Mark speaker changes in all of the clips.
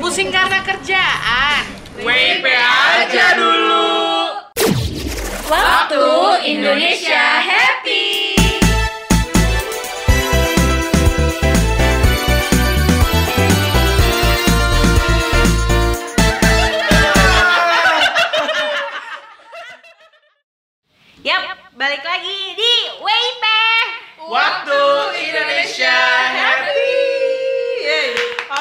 Speaker 1: Pusing karena kerjaan.
Speaker 2: WP aja dulu.
Speaker 1: Waktu Indonesia happy. Yap, balik lagi di WIP.
Speaker 2: Waktu Indonesia happy.
Speaker 1: Yeay.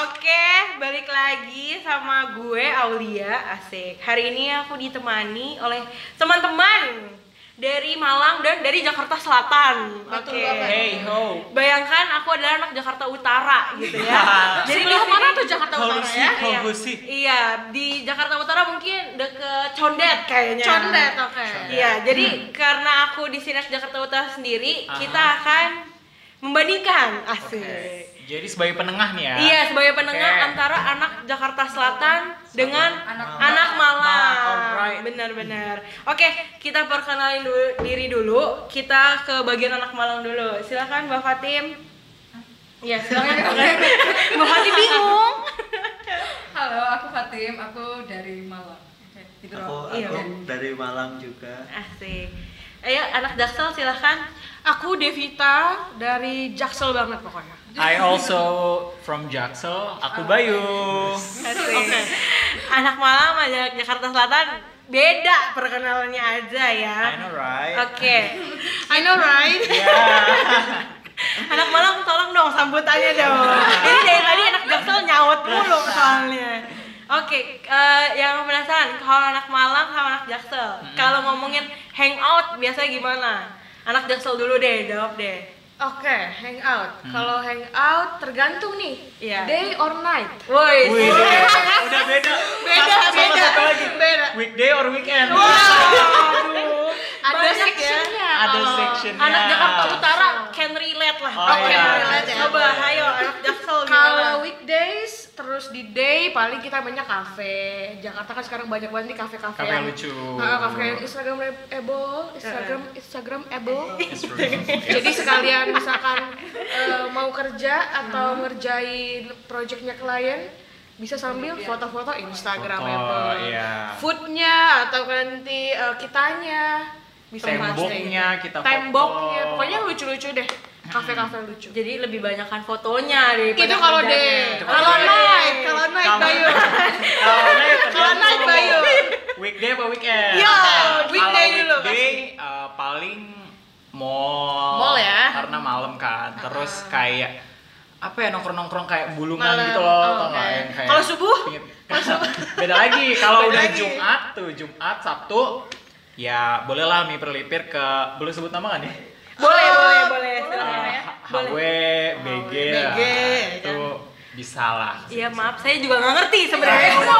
Speaker 1: Oke, balik lagi sama gue Aulia Asik. Hari ini aku ditemani oleh teman-teman dari Malang dan dari Jakarta Selatan. Oke.
Speaker 3: Betul banget.
Speaker 2: Hey ho.
Speaker 1: Bayangkan aku adalah anak Jakarta Utara gitu ya. Jadi
Speaker 3: Sebelah
Speaker 1: di
Speaker 3: mana
Speaker 1: sini-
Speaker 3: tuh Jakarta
Speaker 2: Kalau
Speaker 3: Utara
Speaker 2: sih,
Speaker 3: ya?
Speaker 1: Iya.
Speaker 2: kalau sih.
Speaker 1: Iya, di Jakarta Utara mungkin deket Condet kayaknya.
Speaker 3: Condet, oke.
Speaker 1: Iya, jadi karena aku di Sinas Jakarta Utara sendiri,
Speaker 2: Aha.
Speaker 1: kita akan membandingkan asik.
Speaker 2: Jadi sebagai penengah nih ya.
Speaker 1: Iya, sebagai penengah
Speaker 2: Oke.
Speaker 1: antara anak Jakarta Selatan dengan
Speaker 3: Anak
Speaker 1: anak,
Speaker 2: Malang.
Speaker 1: Malang.
Speaker 2: Alright.
Speaker 1: Benar-benar. Oke, kita perkenalin dulu, diri dulu. Kita ke bagian anak Malang dulu. Silakan Mbak Fatim. Iya, silakan. Mbak Fatim bingung.
Speaker 3: Halo, aku Fatim, aku dari Malang. Oke, gitu
Speaker 4: aku
Speaker 3: doang.
Speaker 1: Iya.
Speaker 4: aku dari Malang juga
Speaker 1: Asik. Ayo anak Jaksel silakan.
Speaker 5: Aku Devita dari Jaksel banget pokoknya.
Speaker 2: I also from Jaksel. Aku Bayu.
Speaker 1: Asik. Anak Malang sama anak Jakarta Selatan beda perkenalannya aja ya.
Speaker 2: I know right.
Speaker 1: Oke.
Speaker 5: I know right?
Speaker 2: Yeah.
Speaker 1: Anak Malang tolong dong sambutannya dong. Ini dari tadi anak Jaksel nyaut mulu soalnya. Oke, eh, yang penasaran kalau anak Malang sama anak Jaksel,
Speaker 2: Hmm.
Speaker 1: kalau ngomongin hangout biasanya gimana? Anak Jaksel dulu deh, jawab deh.
Speaker 5: Oke, hang out. Kalau hang out tergantung nih,
Speaker 1: Iya.
Speaker 5: day or night.
Speaker 1: Woi,
Speaker 2: Wih, udah beda.
Speaker 5: Beda,
Speaker 2: Sama- sama
Speaker 5: beda,
Speaker 2: satu lagi.
Speaker 5: beda.
Speaker 2: Weekday or weekend?
Speaker 1: aduh,
Speaker 5: Ada
Speaker 1: banyak ya.
Speaker 5: sectionnya.
Speaker 2: Ada
Speaker 5: kalau-
Speaker 2: sectionnya.
Speaker 1: Anak Jakarta Utara can relate lah.
Speaker 2: Ah. Oh,
Speaker 5: iya.
Speaker 1: Coba, ayo anak Jaksel gimana?
Speaker 5: Kalau weekdays terus di day paling kita banyak kafe. Jakarta kan sekarang banyak banget nih kafe-kafe
Speaker 2: Kafe
Speaker 5: yang
Speaker 2: lucu.
Speaker 5: Ah, kafe yang Instagram able, Instagram Instagram able.
Speaker 2: It's true.
Speaker 5: Jadi sekalian misalkan eh, mau kerja atau ngerjain projectnya klien bisa sambil foto-foto Instagram
Speaker 2: Foto,
Speaker 5: Apple.
Speaker 2: iya.
Speaker 5: Foodnya atau nanti eh, kitanya bisa
Speaker 2: Temboknya
Speaker 5: posting.
Speaker 2: kita Hmm. foto.
Speaker 5: temboknya pokoknya lucu-lucu deh kafe-kafe lucu.
Speaker 1: Jadi lebih banyakkan fotonya daripada
Speaker 5: Itu kalau
Speaker 1: kerjanya.
Speaker 5: day,
Speaker 2: Itu
Speaker 5: kalau
Speaker 2: kalau day.
Speaker 5: night, kalau night
Speaker 2: Kalau-
Speaker 5: Bayu.
Speaker 2: ya Kalau naik
Speaker 5: Kalau naik Bayu.
Speaker 2: Weekday apa weekend? Nah,
Speaker 5: Yo,
Speaker 2: Kalau
Speaker 5: weekday dulu.
Speaker 2: Weekday eh, paling mall.
Speaker 5: Mall ya.
Speaker 2: Karena malam kan. Terus kayak apa ya nongkrong-nongkrong kayak bulungan
Speaker 5: Malam.
Speaker 2: gitu loh,
Speaker 5: Oh,
Speaker 2: tau nggak?
Speaker 5: oke.
Speaker 2: Yang kayak
Speaker 1: Kalau subuh?
Speaker 2: pinggir- Beda lagi. Kalau
Speaker 5: Beda
Speaker 2: udah
Speaker 5: lagi.
Speaker 2: Jumat tuh, Jumat, Sabtu ya bolehlah melipir ke belum sebut nama kan ya?
Speaker 1: Boleh,
Speaker 5: Oh,
Speaker 1: boleh, boleh. silakan. ya.
Speaker 2: Eh, HW, BG,
Speaker 1: BG,
Speaker 2: ya. itu bisa lah.
Speaker 1: Iya maaf, saya juga nggak ngerti sebenarnya.
Speaker 5: Iya.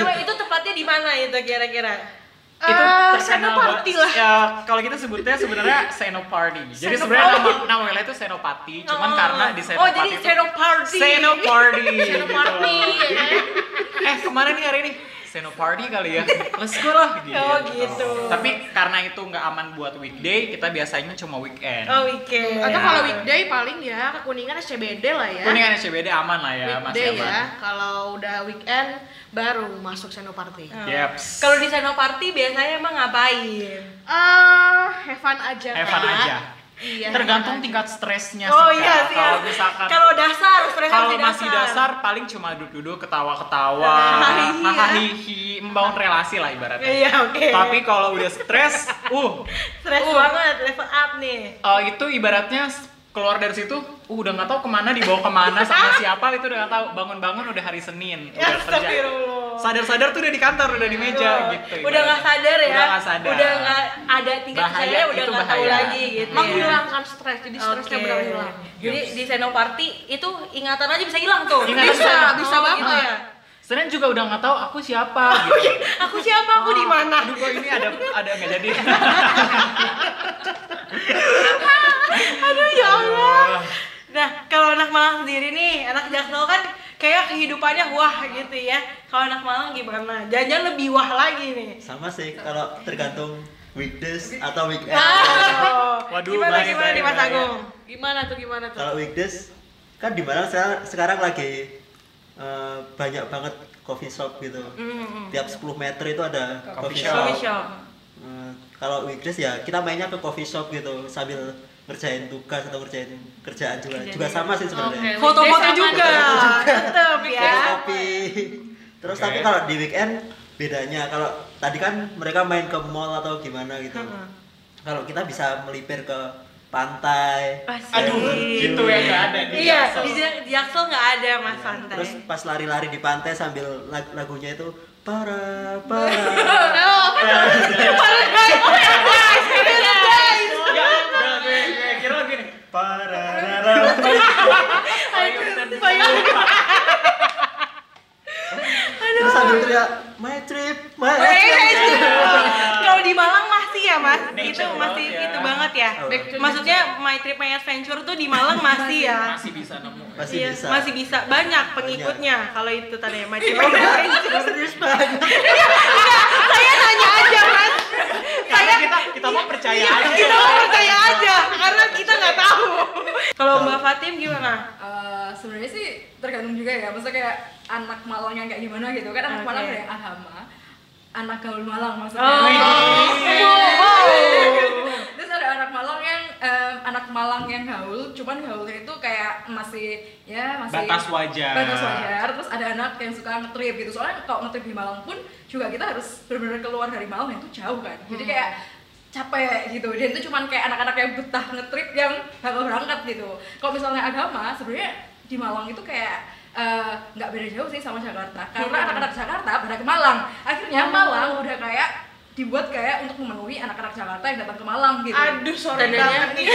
Speaker 1: Coba itu tepatnya di mana itu kira-kira? Ah,
Speaker 2: itu
Speaker 5: Eh,
Speaker 2: terkenal
Speaker 5: senopati
Speaker 2: banget. Ya, kalau kita sebutnya sebenarnya Senopati. Jadi sebenarnya nama nama wilayah itu Senopati, cuman
Speaker 1: Oh.
Speaker 2: karena di Senopati.
Speaker 1: Oh jadi Senoparty.
Speaker 2: Senoparty.
Speaker 5: Senopati,
Speaker 2: gitu. Eh, kemarin nih hari ini Senoparty kali ya. Let's go lah gitu.
Speaker 1: Oh, gitu.
Speaker 2: Tapi karena itu nggak aman buat weekday, kita biasanya cuma weekend.
Speaker 1: Oh
Speaker 2: Iya.
Speaker 1: weekend.
Speaker 5: Atau kalau weekday paling ya ke Kuningan SCBD lah ya.
Speaker 2: Kuningan SCBD aman lah ya,
Speaker 5: weekday
Speaker 2: masih
Speaker 1: Iya,
Speaker 2: aman.
Speaker 5: ya. Kalau udah weekend baru masuk senoparty. Eh,
Speaker 1: Oh.
Speaker 2: Yeps.
Speaker 1: Kalau di Senoparty biasanya emang ngapain?
Speaker 5: Eh, have fun aja.
Speaker 2: Have
Speaker 5: Kak.
Speaker 2: fun aja.
Speaker 5: Iya.
Speaker 2: Tergantung tingkat stresnya
Speaker 1: Oh
Speaker 2: sih,
Speaker 1: iya
Speaker 2: Kak.
Speaker 1: sih.
Speaker 2: Ya, Kalau
Speaker 1: iya.
Speaker 2: misalkan
Speaker 1: Kalau dasar, stres
Speaker 2: kalau masih dasar paling cuma duduk-duduk ketawa-ketawa
Speaker 1: Hahaha, iya.
Speaker 2: hahaha membangun relasi lah ibaratnya
Speaker 1: Iya oke.
Speaker 2: tapi kalau udah stres uh
Speaker 1: stres
Speaker 2: Uh.
Speaker 1: banget level up nih.
Speaker 2: eh, itu ibaratnya s- keluar dari situ uh udah nggak tahu kemana dibawa kemana sama siapa itu udah nggak tahu bangun-bangun udah hari Senin udah kerja
Speaker 1: Astagfirullah.
Speaker 2: sadar-sadar tuh udah di kantor udah di meja
Speaker 1: Aduh,
Speaker 2: gitu
Speaker 1: Udah
Speaker 2: ibaratnya.
Speaker 1: nggak sadar ya.
Speaker 2: udah nggak sadar
Speaker 1: Udah nggak ada tingkat
Speaker 2: Bahaya,
Speaker 1: saya udah
Speaker 2: itu
Speaker 1: nggak tahu
Speaker 2: bahaya.
Speaker 1: lagi gitu. ya.
Speaker 5: Menghilangkan stres, jadi
Speaker 1: Oke.
Speaker 5: stresnya benar hilang.
Speaker 1: Jadi di Senoparty itu ingatan aja bisa hilang tuh.
Speaker 2: Ingatan
Speaker 1: bisa,
Speaker 2: hilang.
Speaker 1: bisa
Speaker 5: Oh,
Speaker 1: banget.
Speaker 5: gitu ya.
Speaker 2: Senin juga udah nggak tahu aku siapa gitu
Speaker 1: Aku siapa? Aku di mana?
Speaker 2: aduh kok ini ada ada nggak jadi
Speaker 1: Aduh ya Allah. Nah, kalau anak Malang sendiri nih, anak Jaksel kan kayak kehidupannya wah gitu ya. Kalau anak Malang gimana? Jangan lebih wah lagi nih.
Speaker 4: sama sih kalau tergantung weekdays atau weekend
Speaker 1: Ah.
Speaker 2: Waduh,
Speaker 1: gimana
Speaker 2: bahaya,
Speaker 1: gimana nih Mas
Speaker 2: bahaya,
Speaker 1: Agung?
Speaker 5: Gimana tuh gimana tuh?
Speaker 4: kalau weekdays kan di Malang sekarang, sekarang lagi eh, banyak banget coffee shop gitu.
Speaker 1: Mm-mm.
Speaker 4: Tiap 10 meter itu ada coffee
Speaker 2: Coffee shop.
Speaker 4: shop.
Speaker 1: Mm-hmm. Coffee shop.
Speaker 4: Eh, kalau weekdays ya kita mainnya ke coffee shop gitu sambil ngerjain tugas atau ngerjain kerjaan juga.
Speaker 1: Kerjaan ya.
Speaker 4: Juga
Speaker 1: juga.
Speaker 4: sama sih
Speaker 3: Oke.
Speaker 4: sebenarnya.
Speaker 1: Iya,
Speaker 5: Iya,
Speaker 1: Foto-foto
Speaker 3: Sama
Speaker 1: juga. Tetep ya.
Speaker 4: Terus kopi. Terus
Speaker 2: Oke.
Speaker 4: tapi kalau di weekend bedanya kalau tadi kan mereka main ke mall atau gimana gitu.
Speaker 1: Heeh.
Speaker 4: Kalau kita bisa melipir ke pantai.
Speaker 1: Pasti.
Speaker 2: Aduh, itu yang nggak ada di
Speaker 1: Iya,
Speaker 2: Jaksel.
Speaker 1: di Jak- di Jaksel nggak ada mas santai.
Speaker 4: Terus pas lari-lari di pantai sambil lag- lagunya itu para para.
Speaker 2: Enggak, enggak, gue gue kira lagi nih.
Speaker 4: para Terus sambil teriak my trip, my
Speaker 1: Wait,
Speaker 4: trip.
Speaker 1: wait, wait. Kalau di Malang masih ya mas,
Speaker 2: Nature
Speaker 1: itu
Speaker 2: banget
Speaker 1: masih
Speaker 2: ya.
Speaker 1: itu banget ya.
Speaker 4: Back
Speaker 5: to
Speaker 1: Maksudnya my trip my adventure tuh di Malang masih ya.
Speaker 2: Masih bisa nemu. ya.
Speaker 4: Masih
Speaker 1: Iya,
Speaker 4: bisa.
Speaker 1: masih bisa banyak pengikutnya kalau itu tadi ya, my trip my adventure.
Speaker 4: Serius banget.
Speaker 1: Saya nanya aja mas,
Speaker 2: Karena kita kita mau percaya aja.
Speaker 1: kita mau percaya aja karena kita nggak tahu. Kalau Mbak Fatim gimana?
Speaker 3: Eh, sebenarnya sih tergantung juga ya maksudnya kayak anak Malang yang kayak gimana gitu kan anak
Speaker 1: Oke.
Speaker 3: Malang ada yang ahama anak gaul Malang maksudnya
Speaker 1: Oh,
Speaker 3: Wih.
Speaker 1: wow.
Speaker 3: terus ada anak Malang yang em, anak Malang yang gaul cuman gaulnya itu kayak masih ya masih
Speaker 2: Batas wajar.
Speaker 3: batas wajar terus ada anak yang suka ngetrip gitu soalnya kalau ngetrip di Malang pun juga kita harus benar-benar keluar dari Malang itu jauh kan jadi kayak capek gitu dan itu cuman kayak anak-anak yang betah ngetrip yang bakal berangkat gitu kalau misalnya agama sebenarnya di Malang itu kayak eh, nggak beda jauh sih sama Jakarta karena
Speaker 1: Hmm.
Speaker 3: anak-anak Jakarta pada ke Malang akhirnya Malang udah kayak dibuat kayak untuk memenuhi anak-anak Jakarta yang datang ke Malang gitu
Speaker 5: Aduh, sorry
Speaker 1: Tandanya-
Speaker 5: banget nih.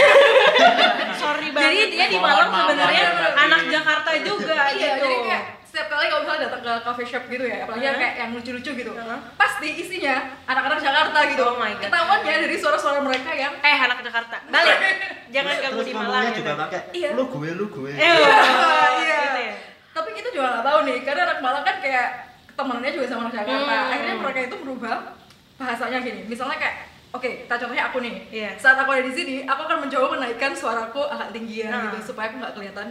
Speaker 1: Sorry banget.
Speaker 3: Jadi intinya di
Speaker 2: Mohon
Speaker 3: Malang
Speaker 2: maaf,
Speaker 3: sebenarnya
Speaker 2: mohon maaf.
Speaker 1: anak Jakarta juga
Speaker 3: iya
Speaker 1: gitu.
Speaker 3: jadi kayak setiap kali kalau misalnya datang ke coffee shop gitu ya apalagi yang
Speaker 1: Hah?
Speaker 3: kayak yang lucu-lucu gitu
Speaker 1: Hah?
Speaker 3: pasti isinya anak-anak Jakarta gitu
Speaker 1: Oh my God.
Speaker 3: ketahuan ya dari suara-suara mereka yang
Speaker 1: Eh anak Jakarta, balik. Jangan ganggu
Speaker 4: Terus
Speaker 1: di Malang.
Speaker 4: ngomongnya
Speaker 1: gitu.
Speaker 4: juga pakai
Speaker 3: Iya.
Speaker 4: lu gue lu gue.
Speaker 1: Eh,
Speaker 3: Iya.
Speaker 1: gitu ya.
Speaker 3: tapi kita juga nggak tahu nih karena anak Malang kan kayak temenannya juga sama anak Jakarta
Speaker 1: Hmm.
Speaker 3: akhirnya mereka itu berubah bahasanya gini misalnya kayak Oke, kita contohnya aku nih.
Speaker 1: Iya.
Speaker 3: Saat aku ada di sini, aku akan mencoba menaikkan suaraku agak tinggian
Speaker 1: Nah.
Speaker 3: gitu supaya aku nggak kelihatan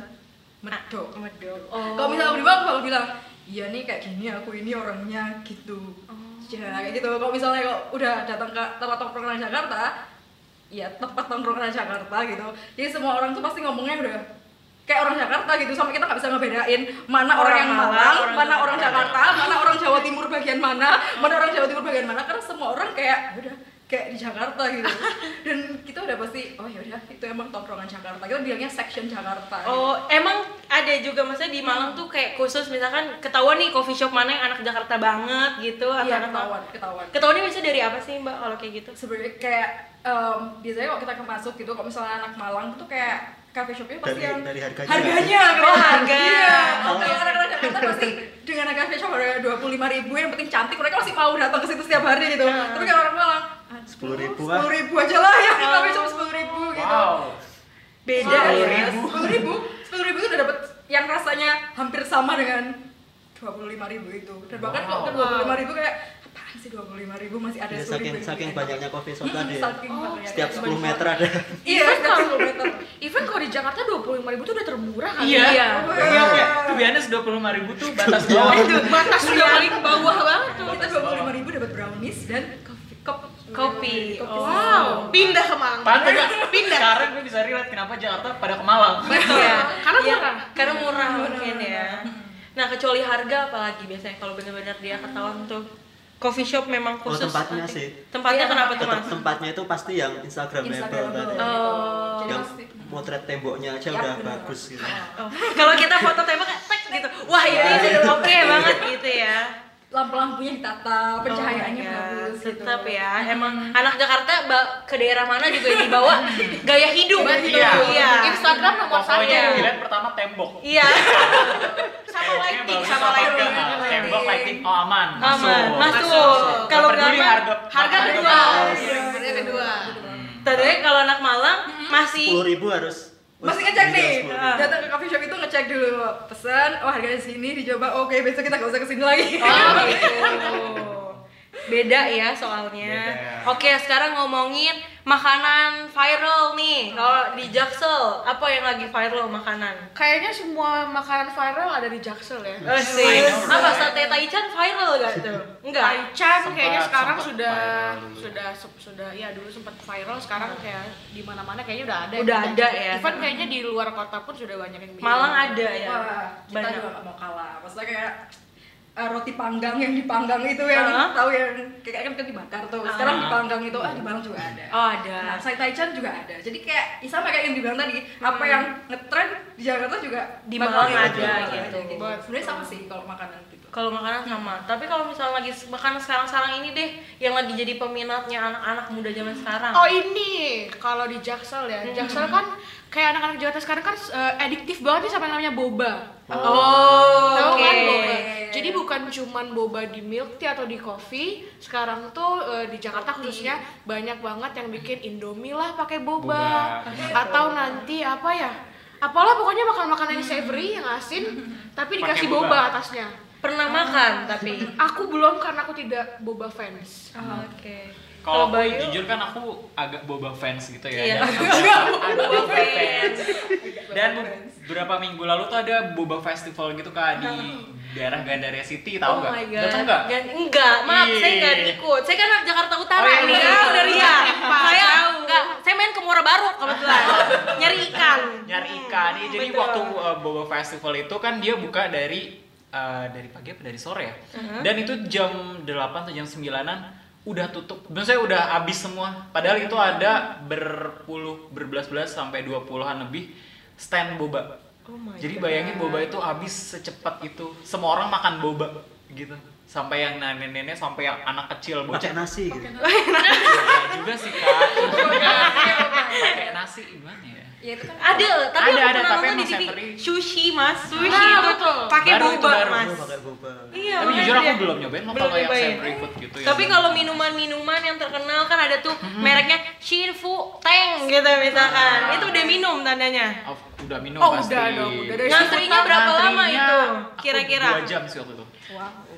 Speaker 3: medok.
Speaker 1: Medok.
Speaker 3: Kalau misalnya aku di bawah, aku bakal bilang, iya nih kayak gini aku ini orangnya gitu. Ya kayak gitu. Kalau misalnya kok udah datang ke tempat tongkrongan Jakarta, ya tempat tongkrongan Jakarta gitu. Jadi semua orang tuh pasti ngomongnya udah kayak orang Jakarta gitu sampai kita nggak bisa ngebedain mana orang,
Speaker 1: Orang
Speaker 3: yang Malang,
Speaker 1: Malang, orang
Speaker 3: mana
Speaker 1: Jakarta.
Speaker 3: orang Jakarta, mana orang Jawa Timur bagian mana, mana orang Jawa Timur bagian mana karena semua orang kayak "Ya udah kayak di Jakarta gitu dan kita udah pasti oh ya udah itu emang tongkrongan Jakarta kita bilangnya section Jakarta gitu.
Speaker 1: Oh, emang ada juga maksudnya di Malang tuh kayak khusus misalkan ketahuan nih coffee shop mana yang anak Jakarta banget gitu atau
Speaker 3: iya
Speaker 1: anak
Speaker 3: ketahuan ketahuan
Speaker 1: Ketahuannya biasanya dari apa sih Mbak kalau kayak gitu?
Speaker 3: sebenarnya kayak em, biasanya kalau kita ke masuk gitu kalau misalnya anak Malang tuh kayak cafe shopnya pasti
Speaker 4: Dari-
Speaker 3: yang
Speaker 4: dari harganya.
Speaker 3: harganya
Speaker 1: Oh,
Speaker 3: keren.
Speaker 1: harga.
Speaker 3: iya
Speaker 4: Oh.
Speaker 3: kalau anak-anak Jakarta pasti dengan harga cafe shop harga dua puluh lima ribu yang penting cantik mereka masih mau datang ke situ setiap hari gitu
Speaker 2: Iya.
Speaker 3: tapi kalau orang Malang
Speaker 4: Sepuluh ribu ah.
Speaker 3: sepuluh ribu aja lah ya
Speaker 1: Oh.
Speaker 3: cafe shop sepuluh ribu gitu
Speaker 2: Wow.
Speaker 1: Beda ya.
Speaker 2: Sepuluh ribu.
Speaker 3: sepuluh ribu sepuluh ribu itu udah dapet yang rasanya hampir sama dengan dua puluh lima ribu itu dan bahkan kalau ke dua puluh lima ribu kayak apaan sih dua puluh lima ribu masih ada
Speaker 4: Iya,
Speaker 3: sepuluh
Speaker 4: saking saking banyaknya coffee shop tadi. ya.
Speaker 3: Saking banyaknya.
Speaker 4: Setiap 10 meter ada.
Speaker 3: Iya, setiap 10 meter.
Speaker 5: Even kalau di Jakarta 25 ribu tuh udah termurah kali. ya.
Speaker 2: Iya.
Speaker 1: Iya.
Speaker 2: Iya, kayak tuh biasanya dua puluh tuh batas bawah.
Speaker 1: Itu batas udah paling bawah banget tuh.
Speaker 3: Kita dua puluh lima ribu dapat brownies dan kopi. Kop,
Speaker 1: Kopi.
Speaker 3: kopi.
Speaker 1: Oh. Iya. Wow.
Speaker 5: Pindah ke Malang.
Speaker 2: Pantes nggak? Sekarang gue bisa relate kenapa Jakarta pada ke Malang.
Speaker 1: Betul.
Speaker 5: Iya, karena
Speaker 1: Iya,
Speaker 5: murah.
Speaker 1: Karena murah mungkin ya. Nah, kecuali harga apalagi biasanya kalau benar-benar dia ketahuan tuh coffee shop memang
Speaker 4: Oh,
Speaker 1: khusus.
Speaker 4: tempatnya
Speaker 1: nanti.
Speaker 4: sih.
Speaker 1: Tempatnya
Speaker 3: Iya,
Speaker 1: kenapa tuh,
Speaker 4: Tetap
Speaker 1: Mas?
Speaker 4: tempatnya itu pasti yang Instagramable
Speaker 3: Instagramable
Speaker 4: tadi.
Speaker 3: gitu.
Speaker 1: Oh.
Speaker 3: Jadi
Speaker 4: Yang
Speaker 3: pasti.
Speaker 4: motret temboknya aja
Speaker 3: Yap,
Speaker 4: udah
Speaker 3: bener. Iya.
Speaker 4: bagus gitu.
Speaker 1: Oh, Kalau kita foto tembak tek gitu. Wah, ini sudah oke banget gitu ya.
Speaker 3: Lampu-lampunya ditata, pencahayaannya
Speaker 1: Oh my God,
Speaker 3: bagus gitu.
Speaker 1: Tetap ya. Emang anak Jakarta ba- ke daerah mana juga dibawa gaya hidup gitu.
Speaker 2: Iya.
Speaker 1: Iya.
Speaker 5: Instagram nomor
Speaker 2: Pokoknya yang
Speaker 1: satu.
Speaker 2: dilihat pertama tembok.
Speaker 1: Iya. sama lighting,
Speaker 2: Bagus,
Speaker 1: sama lighting.
Speaker 2: enggak. Tembok lighting oh aman.
Speaker 1: Aman, masuk. Kalau
Speaker 2: Kalau
Speaker 1: nggak
Speaker 2: enggak
Speaker 1: aman,
Speaker 2: harga
Speaker 1: harga kedua.
Speaker 3: Oh,
Speaker 2: Iya.
Speaker 5: Harga kedua.
Speaker 4: Hmm.
Speaker 1: Tadinya kalau anak Malang masih
Speaker 4: 10 ribu harus
Speaker 3: Masih ngecek
Speaker 4: Iya,
Speaker 3: nih,
Speaker 4: 10.000.
Speaker 3: datang ke coffee shop itu ngecek dulu pesan, oh harganya sini dicoba, oke besok kita gak usah kesini lagi.
Speaker 1: Oh gitu. Beda ya soalnya.
Speaker 2: Beda.
Speaker 1: Oke, sekarang ngomongin makanan viral nih kalau di Jaksel apa yang lagi viral makanan?
Speaker 5: Kayaknya semua makanan viral ada di Jaksel ya.
Speaker 1: Oh, sih.
Speaker 2: I know,
Speaker 1: Apa
Speaker 2: right?
Speaker 1: sate taichan viral gak tuh? Enggak.
Speaker 5: Taichan
Speaker 2: Sempat-
Speaker 5: kayaknya sekarang
Speaker 2: sempat
Speaker 5: sudah
Speaker 2: viral dulu.
Speaker 5: sudah sudah sudah ya dulu sempat viral sekarang kayak di mana-mana kayaknya udah ada.
Speaker 1: Udah ada ya.
Speaker 5: Even kayaknya di luar kota pun sudah banyak yang bikin.
Speaker 1: Malang ada ya.
Speaker 3: Wah, kita
Speaker 1: Banyak.
Speaker 3: juga gak mau kalah. Maksudnya kayak eh, roti panggang yang dipanggang itu yang
Speaker 1: Hah?
Speaker 3: tahu yang kayak kan kan dibakar tuh. Sekarang dipanggang itu ah di Malang juga ada.
Speaker 1: Oh, ada.
Speaker 3: Nah, Sai Taichan juga ada. Jadi kayak ya sama kayak yang dibilang tadi, apa yang ngetren di Jakarta juga
Speaker 1: Di
Speaker 3: bakal ada,
Speaker 1: Malang ada,
Speaker 3: bakal
Speaker 1: gitu.
Speaker 3: ada. Sebenarnya sama sih kalau makanan gitu.
Speaker 1: Kalau makanan sama, tapi kalau misalnya lagi makanan sekarang-sekarang ini deh yang lagi jadi peminatnya anak-anak muda zaman sekarang.
Speaker 5: Oh ini kalau di Jaksel ya. Jaksel kan kayak anak-anak Jakarta sekarang kan eh, adiktif banget nih sama yang namanya boba.
Speaker 2: iya.
Speaker 1: Oh,
Speaker 5: Tahu
Speaker 1: oke.
Speaker 5: kan boba. Jadi bukan cuman boba di milk tea atau di coffee. Sekarang tuh eh, di Jakarta khususnya banyak banget yang bikin Indomie lah pakai boba.
Speaker 2: Boba.
Speaker 5: Atau nanti apa ya? Apalah pokoknya makanan-makanan yang savory yang asin tapi
Speaker 2: Pakai
Speaker 5: dikasih
Speaker 2: boba.
Speaker 5: boba atasnya.
Speaker 1: Pernah makan tapi.
Speaker 5: Aku belum karena aku tidak boba fans.
Speaker 1: Oke.
Speaker 2: Kalau aku
Speaker 1: Bayu?
Speaker 2: jujur kan aku agak boba fans gitu
Speaker 1: Iya.
Speaker 2: ya. Dan- Ada boba fans. Dan beberapa minggu lalu tuh ada boba festival gitu kak di daerah Gandaria City
Speaker 1: oh
Speaker 2: tahu nggak?
Speaker 1: my god.
Speaker 2: Datang nggak?
Speaker 1: Dan- enggak, maaf saya
Speaker 2: Ih.
Speaker 1: enggak ikut. Saya kan anak Jakarta Utara
Speaker 2: Oh, iya,
Speaker 1: nih.
Speaker 2: bener.
Speaker 1: Saya udah Ria.
Speaker 5: Pak,
Speaker 1: Saya
Speaker 5: jauh.
Speaker 1: enggak, saya main ke Muara Baru kebetulan. Nyari ikan.
Speaker 2: Nyari ikan. Iya, jadi
Speaker 1: betul.
Speaker 2: waktu uh, boba festival itu kan dia buka dari uh, dari pagi apa dari sore ya.
Speaker 1: Uh-huh.
Speaker 2: Dan itu jam 8 atau jam 9-an udah tutup. Maksudnya udah habis semua. Padahal itu ada berpuluh berbelas-belas sampai 20-an lebih stand boba.
Speaker 1: Oh my
Speaker 2: Jadi bayangin boba itu habis secepat itu. Semua orang makan boba gitu. Sampai yang nenek-nenek sampai yang anak kecil bocah
Speaker 4: pakai nasi gitu
Speaker 2: Nggak juga sih kak. Pakai nasi gimana ya?
Speaker 3: Ya itu kan
Speaker 1: Ada, tapi aku
Speaker 2: Ada, ada,
Speaker 1: pernah
Speaker 2: tapi
Speaker 1: nonton di
Speaker 2: emang
Speaker 1: TV
Speaker 2: savory.
Speaker 1: sushi mas, sushi
Speaker 5: Ah,
Speaker 1: itu
Speaker 5: betul.
Speaker 1: pakai
Speaker 2: Baru itu
Speaker 1: boba
Speaker 2: baru.
Speaker 1: mas.
Speaker 4: Gua pakai boba
Speaker 1: Iya,
Speaker 2: Tapi
Speaker 1: makanya
Speaker 2: jujur aku
Speaker 1: dia-
Speaker 2: belum nyobain loh
Speaker 1: belum
Speaker 2: kalau yang
Speaker 1: nyobain.
Speaker 2: savory food gitu ya.
Speaker 1: Tapi kalau minuman-minuman yang terkenal kan ada tuh mereknya Shinfu Teng gitu misalkan.
Speaker 2: Ah.
Speaker 1: Itu udah minum tandanya.
Speaker 2: Oh, udah minum
Speaker 5: Oh,
Speaker 2: pasti.
Speaker 5: udah dong, udah dari
Speaker 1: Ngantrinya berapa lama
Speaker 2: Ngantrinya
Speaker 1: itu
Speaker 2: aku
Speaker 1: kira-kira?
Speaker 2: Dua jam sih waktu itu.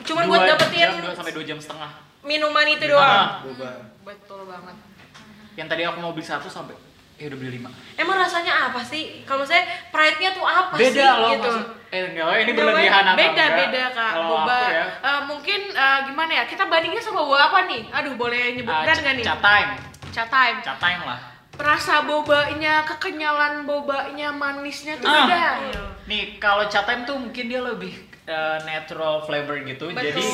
Speaker 1: Cuman
Speaker 2: Dua
Speaker 1: buat
Speaker 2: jam,
Speaker 1: dapetin
Speaker 2: dua sampai dua jam setengah.
Speaker 1: minuman itu
Speaker 2: Ah,
Speaker 1: doang.
Speaker 4: boba
Speaker 5: Betul banget.
Speaker 2: yang tadi aku mau beli satu sampai eh udah beli lima.
Speaker 1: Emang rasanya apa sih? Kalau saya pride-nya tuh apa sih
Speaker 2: Beda loh
Speaker 1: gitu?
Speaker 2: maksud- Eh enggak, ini
Speaker 5: Coba
Speaker 2: berlebihan apa
Speaker 5: Oh, beda
Speaker 2: enggak?
Speaker 5: beda kak
Speaker 2: Kalau
Speaker 5: boba
Speaker 2: aku ya,
Speaker 5: eh, mungkin eh, gimana ya kita bandingnya sama boba apa nih aduh boleh nyebut
Speaker 2: ah,
Speaker 5: brand
Speaker 2: ca-
Speaker 5: nggak nih
Speaker 2: Cat time,
Speaker 5: Cat time
Speaker 2: cat time lah.
Speaker 5: rasa bobanya kekenyalan bobanya manisnya tuh
Speaker 2: Ah.
Speaker 5: beda
Speaker 2: Nih, kalau cat time tuh mungkin dia lebih eh, natural flavor gitu. Jadi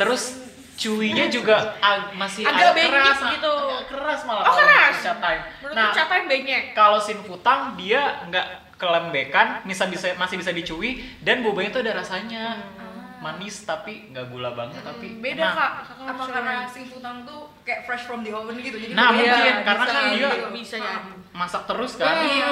Speaker 2: terus cuinya juga ag- masih
Speaker 5: Agak
Speaker 2: agak
Speaker 5: bengis
Speaker 2: keras
Speaker 5: gitu.
Speaker 2: agak keras malah
Speaker 5: Oh,
Speaker 2: kalau
Speaker 5: keras?
Speaker 2: cat time.
Speaker 5: menurut
Speaker 2: Nah,
Speaker 5: cat time benyek
Speaker 2: kalau sin futang dia nggak kelembekan, bisa bisa masih bisa dicui dan bobanya tuh ada rasanya manis tapi nggak gula banget tapi
Speaker 5: beda
Speaker 2: enak.
Speaker 5: kak
Speaker 3: apa karena sing futang tuh kayak fresh from the oven gitu. Jadi
Speaker 2: Nah,
Speaker 3: dia-
Speaker 2: mungkin,
Speaker 3: bisa
Speaker 2: karena kan dia-
Speaker 3: gitu.
Speaker 5: Iya, bisa jadi
Speaker 2: Masak terus kan?
Speaker 3: Iya.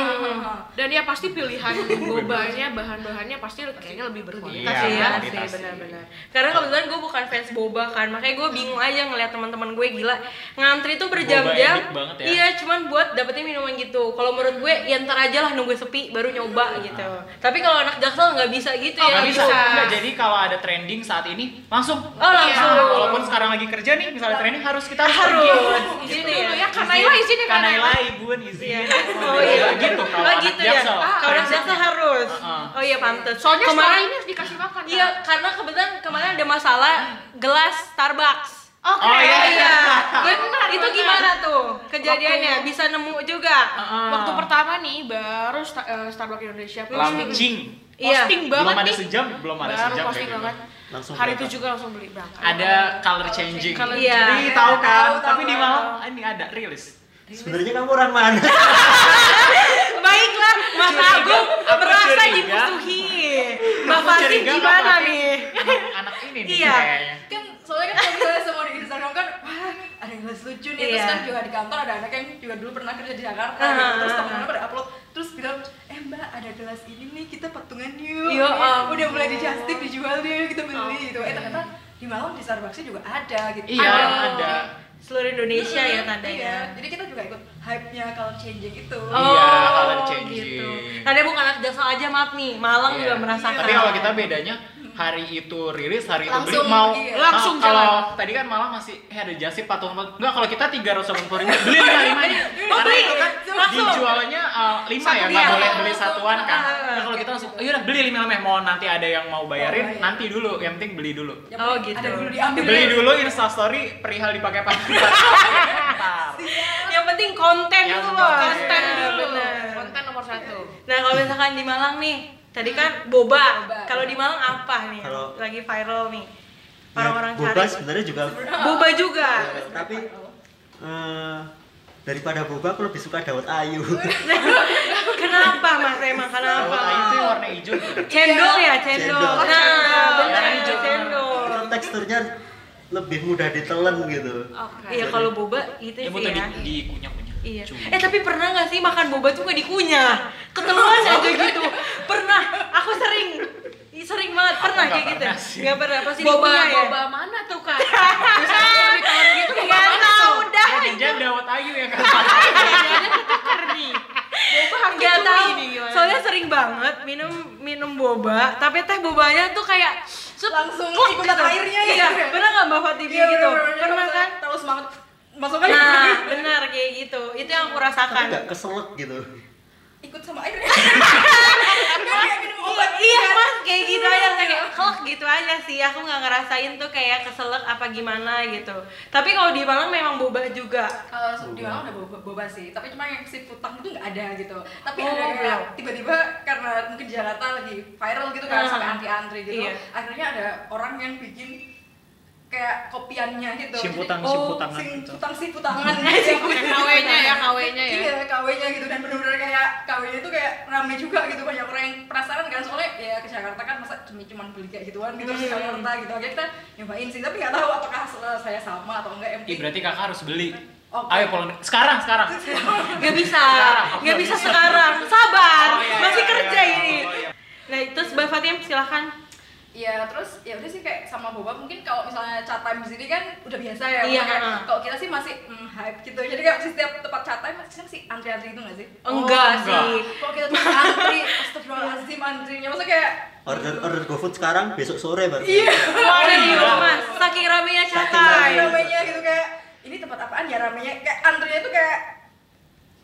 Speaker 5: dan ya pasti pilihan bobanya bahan-bahannya pasti kayaknya lebih berkualitas
Speaker 2: Iya,
Speaker 5: ya
Speaker 1: Iya sih,
Speaker 2: kualitas sih.
Speaker 1: benar-benar. Karena kebetulan gue bukan fans boba kan, makanya gue bingung aja ngeliat teman-teman gue gila ngantri tuh berjam-jam.
Speaker 2: edik banget ya.
Speaker 1: Iya, cuman buat dapetin minuman gitu. Kalau menurut gue, ya ntar aja lah nunggu sepi baru nyoba gitu. Tapi kalau anak jaksel nggak bisa gitu
Speaker 5: Oh,
Speaker 1: ya.
Speaker 2: Nggak bisa.
Speaker 5: bisa.
Speaker 2: Nggak, jadi kalau ada trending saat ini langsung.
Speaker 1: Oh langsung.
Speaker 2: Nah, walaupun sekarang lagi kerja nih, misalnya trending harus kita harus
Speaker 1: Harus. Izin
Speaker 2: pergi.
Speaker 5: Izin
Speaker 1: dulu
Speaker 5: dulu
Speaker 1: ya.
Speaker 5: ya Kanaila izin ya
Speaker 2: Kanaila
Speaker 5: Kanaila
Speaker 2: ibuan izin.
Speaker 1: Iya.
Speaker 2: Oh iya gitu kalau
Speaker 1: oh
Speaker 2: anak
Speaker 1: gitu ya.
Speaker 2: Jaksel.
Speaker 1: Kalau anak jaksel harus.
Speaker 2: Heeh.
Speaker 1: Oh iya pantes.
Speaker 5: soalnya sekarang
Speaker 1: kemarin
Speaker 5: ini harus dikasih makan Kak.
Speaker 1: iya karena kebetulan kemarin ada masalah gelas Starbucks.
Speaker 5: Oke.
Speaker 2: Oh, iya,
Speaker 1: Iya.
Speaker 5: Benar,
Speaker 1: itu
Speaker 5: benar.
Speaker 1: gimana tuh kejadiannya? Bisa nemu juga.
Speaker 5: Waktu pertama nih baru sta- eh, Starbucks Indonesia posting,
Speaker 2: Launching.
Speaker 1: Iya.
Speaker 5: posting banget
Speaker 2: Belum ada
Speaker 5: nih.
Speaker 2: sejam, belum ada
Speaker 5: baru
Speaker 2: sejam.
Speaker 5: posting
Speaker 2: kayak gitu.
Speaker 5: banget.
Speaker 4: Langsung
Speaker 5: Hari itu
Speaker 4: berangkat.
Speaker 5: juga langsung beli berangkat.
Speaker 2: Ada color changing.
Speaker 5: Color
Speaker 1: Iya.
Speaker 2: Jadi tahu kan,
Speaker 3: Tahu,
Speaker 2: tapi
Speaker 3: tahu.
Speaker 2: di malam ini ada rilis.
Speaker 4: sebenarnya kamu orang mana
Speaker 1: Baiklah, Mas
Speaker 2: Curiga.
Speaker 1: Agung
Speaker 2: ya. Aku
Speaker 1: merasa
Speaker 2: curiga.
Speaker 1: dimusuhi. Mbak Fatin
Speaker 2: Curiga
Speaker 1: gimana
Speaker 2: Mbak Fatin.
Speaker 1: nih?
Speaker 2: Anak ini nih
Speaker 1: Iya.
Speaker 2: kayaknya.
Speaker 3: kan soalnya kan kalau misalnya semua di Instagram kan wah ada yang les lucu nih terus
Speaker 1: Iya.
Speaker 3: kan juga di kantor ada anak yang juga dulu pernah kerja di Jakarta
Speaker 1: Ah.
Speaker 3: gitu. terus temen-temen pada upload terus bilang eh mbak ada gelas ini nih kita patungan yuk
Speaker 1: Ya
Speaker 3: Ini
Speaker 1: ampun.
Speaker 3: udah mulai di Justip dijual deh kita beli gitu eh ternyata di malam di Starbucks juga ada gitu
Speaker 2: Iya,
Speaker 1: Aduh.
Speaker 2: ada.
Speaker 1: Seluruh Indonesia
Speaker 3: Iya,
Speaker 1: ya tandanya.
Speaker 3: jadi kita juga ikut hype-nya kalau changing itu
Speaker 2: Iya, color
Speaker 1: Oh,
Speaker 2: changing.
Speaker 1: Iya. Gitu. Tandanya bukan anak jaksel aja maaf nih, Malang
Speaker 2: Iya.
Speaker 1: juga merasakan.
Speaker 2: Tapi kalau kita bedanya hari itu rilis hari itu beli
Speaker 3: Langsung,
Speaker 2: mau
Speaker 3: iya.
Speaker 2: mau-
Speaker 5: Langsung jalan.
Speaker 2: kalau tadi kan malah masih eh ada jasip atau apa enggak kalau kita tiga ratus ribu beli lima limanya
Speaker 1: Oh,
Speaker 2: karena
Speaker 1: beli.
Speaker 2: itu kan
Speaker 1: Langsung.
Speaker 2: dijualannya eh, lima ya nggak
Speaker 1: Iya,
Speaker 2: boleh
Speaker 3: langsung.
Speaker 2: beli satuan kan
Speaker 1: Ah, ah,
Speaker 2: nah, kalau kita langsung "Ayo udah beli lima limanya mau nanti ada yang mau bayarin
Speaker 1: iya.
Speaker 3: bayar.
Speaker 2: nanti dulu yang penting beli dulu
Speaker 3: Yang
Speaker 1: Oh,
Speaker 3: penting
Speaker 1: gitu.
Speaker 3: Ada dulu diambil. ya.
Speaker 2: beli dulu gitu. instastory perihal dipakai pakai
Speaker 1: yang penting konten
Speaker 2: Yang
Speaker 1: dulu
Speaker 2: penting
Speaker 5: konten
Speaker 2: Iya,
Speaker 5: dulu
Speaker 1: Bener.
Speaker 5: konten nomor satu
Speaker 1: nah kalau misalkan di Malang nih tadi kan boba,
Speaker 3: Boba.
Speaker 1: kalau di Malang apa nih
Speaker 4: Kalau-
Speaker 1: lagi viral nih
Speaker 2: Ya,
Speaker 1: orang-orang
Speaker 4: Ya, boba
Speaker 1: cari
Speaker 4: sebenarnya juga
Speaker 1: boba juga
Speaker 4: eh, tapi
Speaker 1: Iya, gitu.
Speaker 4: eh, daripada boba aku lebih suka dawet ayu
Speaker 1: kenapa mas emang kenapa
Speaker 2: Kalau itu yang warna hijau gitu.
Speaker 1: cendol ya cendol
Speaker 4: Cendol.
Speaker 1: nah
Speaker 5: Cendol.
Speaker 1: benar
Speaker 2: Yang hijau.
Speaker 1: cendol
Speaker 4: Itu teksturnya lebih mudah ditelen gitu
Speaker 5: oke
Speaker 1: iya kalau boba itu
Speaker 2: Ya
Speaker 1: sih
Speaker 2: butuh
Speaker 1: ya
Speaker 2: di, dikunyah-kunyah.
Speaker 1: Iya.
Speaker 2: Cuma.
Speaker 1: Eh tapi pernah nggak sih makan boba tuh nggak dikunyah? Ketelan aja gitu. Pernah. Aku sering. Ih, Sering banget pernah
Speaker 2: nggak
Speaker 1: kayak gitu.
Speaker 2: pernah sih.
Speaker 1: Nggak pernah pasti
Speaker 5: boba
Speaker 1: dikunyah ya.
Speaker 5: boba mana tuh kak Terus aku ditawarin gitu boba
Speaker 1: Nggak
Speaker 5: mana
Speaker 1: tahu
Speaker 5: tuh?
Speaker 1: dah.
Speaker 2: Jangan dawet ayu ya kan.
Speaker 1: Nggak
Speaker 5: curi
Speaker 1: tahu.
Speaker 5: nih gimana.
Speaker 1: Soalnya sering banget minum minum boba, tapi teh bobanya tuh kayak sup,
Speaker 3: Langsung
Speaker 1: kluk
Speaker 3: ikutan
Speaker 1: gitu.
Speaker 3: airnya ya.
Speaker 1: Iya, pernah nggak Mbak Fatimi
Speaker 3: iya,
Speaker 5: Iya,
Speaker 1: gitu? Pernah kan?
Speaker 3: Terus semangat. Masukkan.
Speaker 1: Nah, benar kayak gitu. Itu yang aku
Speaker 4: tapi
Speaker 1: rasakan.
Speaker 4: nggak keselak gitu
Speaker 3: Ikut sama airnya. Kan kayak minum obat.
Speaker 1: iya mas kayak gitu aja kayak kelek gitu aja sih aku nggak ngerasain tuh kayak keselak apa gimana gitu tapi kalau di Malang memang boba juga
Speaker 3: Kalau di Malang ada boba, boba sih, tapi cuma yang si putang itu nggak ada gitu. Tapi
Speaker 1: Oh,
Speaker 3: ada kayak
Speaker 1: belum.
Speaker 3: tiba-tiba karena mungkin di Jakarta lagi viral gitu kan
Speaker 1: Ah.
Speaker 3: sampai anti-antri gitu.
Speaker 1: Iya.
Speaker 3: Akhirnya ada orang yang bikin kayak kopiannya gitu.
Speaker 2: Simputang-
Speaker 3: Jadi,
Speaker 2: simputangan
Speaker 3: sing
Speaker 2: gitu.
Speaker 3: putang simputangan.
Speaker 5: KW-nya ya, KW-nya ya.
Speaker 3: Iya, KW-nya gitu dan benar-benar kayak KW-nya itu kayak rame juga gitu banyak orang yang penasaran kan soalnya ya ke Jakarta kan masa cuma cuma beli kayak gituan gitu
Speaker 1: Hmm.
Speaker 3: di Jakarta gitu. Akhirnya kita nyobain sih tapi nggak tahu apakah hasil saya sama atau enggak. Yang
Speaker 2: Ih, berarti kakak harus beli.
Speaker 3: Oke.
Speaker 2: Ayo pulang sekarang sekarang. Iya.
Speaker 1: nggak bisa
Speaker 2: Sekarang, oh,
Speaker 1: nggak
Speaker 2: nggak
Speaker 1: bisa
Speaker 2: bisa.
Speaker 1: sekarang sabar
Speaker 2: Oh, iya,
Speaker 1: masih
Speaker 2: iya,
Speaker 1: kerja
Speaker 2: iya.
Speaker 1: ini
Speaker 2: Oh, iya.
Speaker 1: nah terus Mbak Fatim silahkan
Speaker 3: Iya, terus ya udah sih kayak sama boba mungkin kalau misalnya chat time di sini kan udah biasa ya.
Speaker 1: Iya,
Speaker 3: kayak
Speaker 1: heeh.
Speaker 3: Kalau kita sih masih mm, hype gitu. Jadi kayak di setiap tempat chat time masih sih antri-antri gitu nggak sih?
Speaker 1: enggak
Speaker 2: Oh, enggak.
Speaker 1: sih
Speaker 3: Kalau kita tuh antri, astagfirullahaladzim antrinya Maksudnya kayak "Hmm,
Speaker 4: order order GoFood sekarang besok sore baru
Speaker 2: Iya.
Speaker 1: Warna di rumah saking ramenya
Speaker 3: Kayak
Speaker 1: catai
Speaker 3: ramenya gitu kayak ini tempat apaan ya ramenya kayak antrinya tuh kayak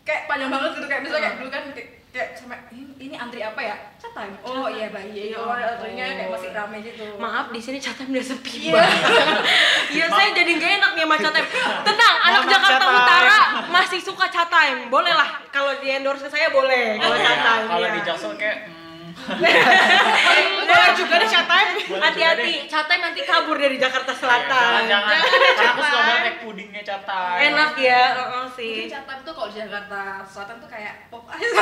Speaker 3: kayak panjang banget gitu kayak misalnya kayak dulu kan kayak, kayak sama ini, ini antri apa ya? Chat time. Oh iya, bayi. Oh, antrinya kayak masih rame gitu.
Speaker 1: Maaf di sini catem udah sepi
Speaker 3: Iya.
Speaker 1: Iya saya jadi gak enak nih sama
Speaker 2: Iya.
Speaker 1: catem. Tenang, anak
Speaker 2: Mama
Speaker 1: Jakarta
Speaker 2: Catem.
Speaker 1: Utara masih suka catem. Boleh lah kalau di endorse ke saya boleh kalau
Speaker 2: Iya,
Speaker 1: catem.
Speaker 2: Kalau
Speaker 1: iya.
Speaker 2: di Jaksel kayak hmm,
Speaker 1: boleh juga deh catem.
Speaker 2: juga Iya,
Speaker 1: Hati-hati, catem nanti kabur dari Jakarta Selatan.
Speaker 2: jangan jangan. Karena aku suka banget naik pudingnya catai.
Speaker 1: Enak ya, heeh sih.
Speaker 3: Mungkin chat time tuh kalau di Jakarta Selatan tuh kayak pop ice.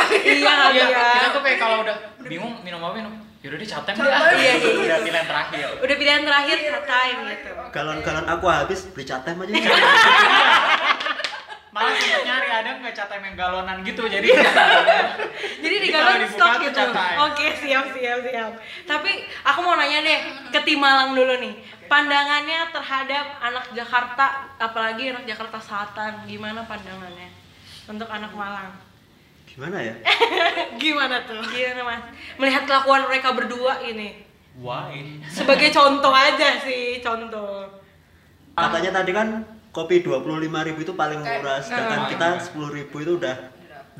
Speaker 1: Iya,
Speaker 2: Iya,
Speaker 1: iya.
Speaker 2: kita tuh kayak kalau udah bingung minum apa minum. Yaudah deh catai deh.
Speaker 3: Catem.
Speaker 2: ah.
Speaker 1: Iya, iya.
Speaker 2: Udah pilihan terakhir.
Speaker 1: Udah pilihan terakhir catem gitu.
Speaker 4: galon-galon aku habis beli catem aja
Speaker 2: Malah sempet nyari ada nggak catai yang galonan gitu jadi.
Speaker 1: Jadi di
Speaker 2: Jadi kalau
Speaker 1: galon
Speaker 2: dibuka
Speaker 1: stok
Speaker 2: tuh
Speaker 1: gitu.
Speaker 2: catai.
Speaker 1: Oke, siap siap siap. Tapi aku mau nanya deh ke tim Malang dulu nih. Pandangannya terhadap anak Jakarta, apalagi anak Jakarta Selatan, gimana pandangannya untuk anak Malang?
Speaker 4: gimana ya
Speaker 1: Gimana tuh? Gimana Mas? Melihat kelakuan mereka berdua ini.
Speaker 2: Why?
Speaker 1: Sebagai contoh aja sih, contoh.
Speaker 4: katanya tadi kan kopi 25.000 itu paling murah sedangkan
Speaker 2: eh.
Speaker 4: kita 10.000 itu udah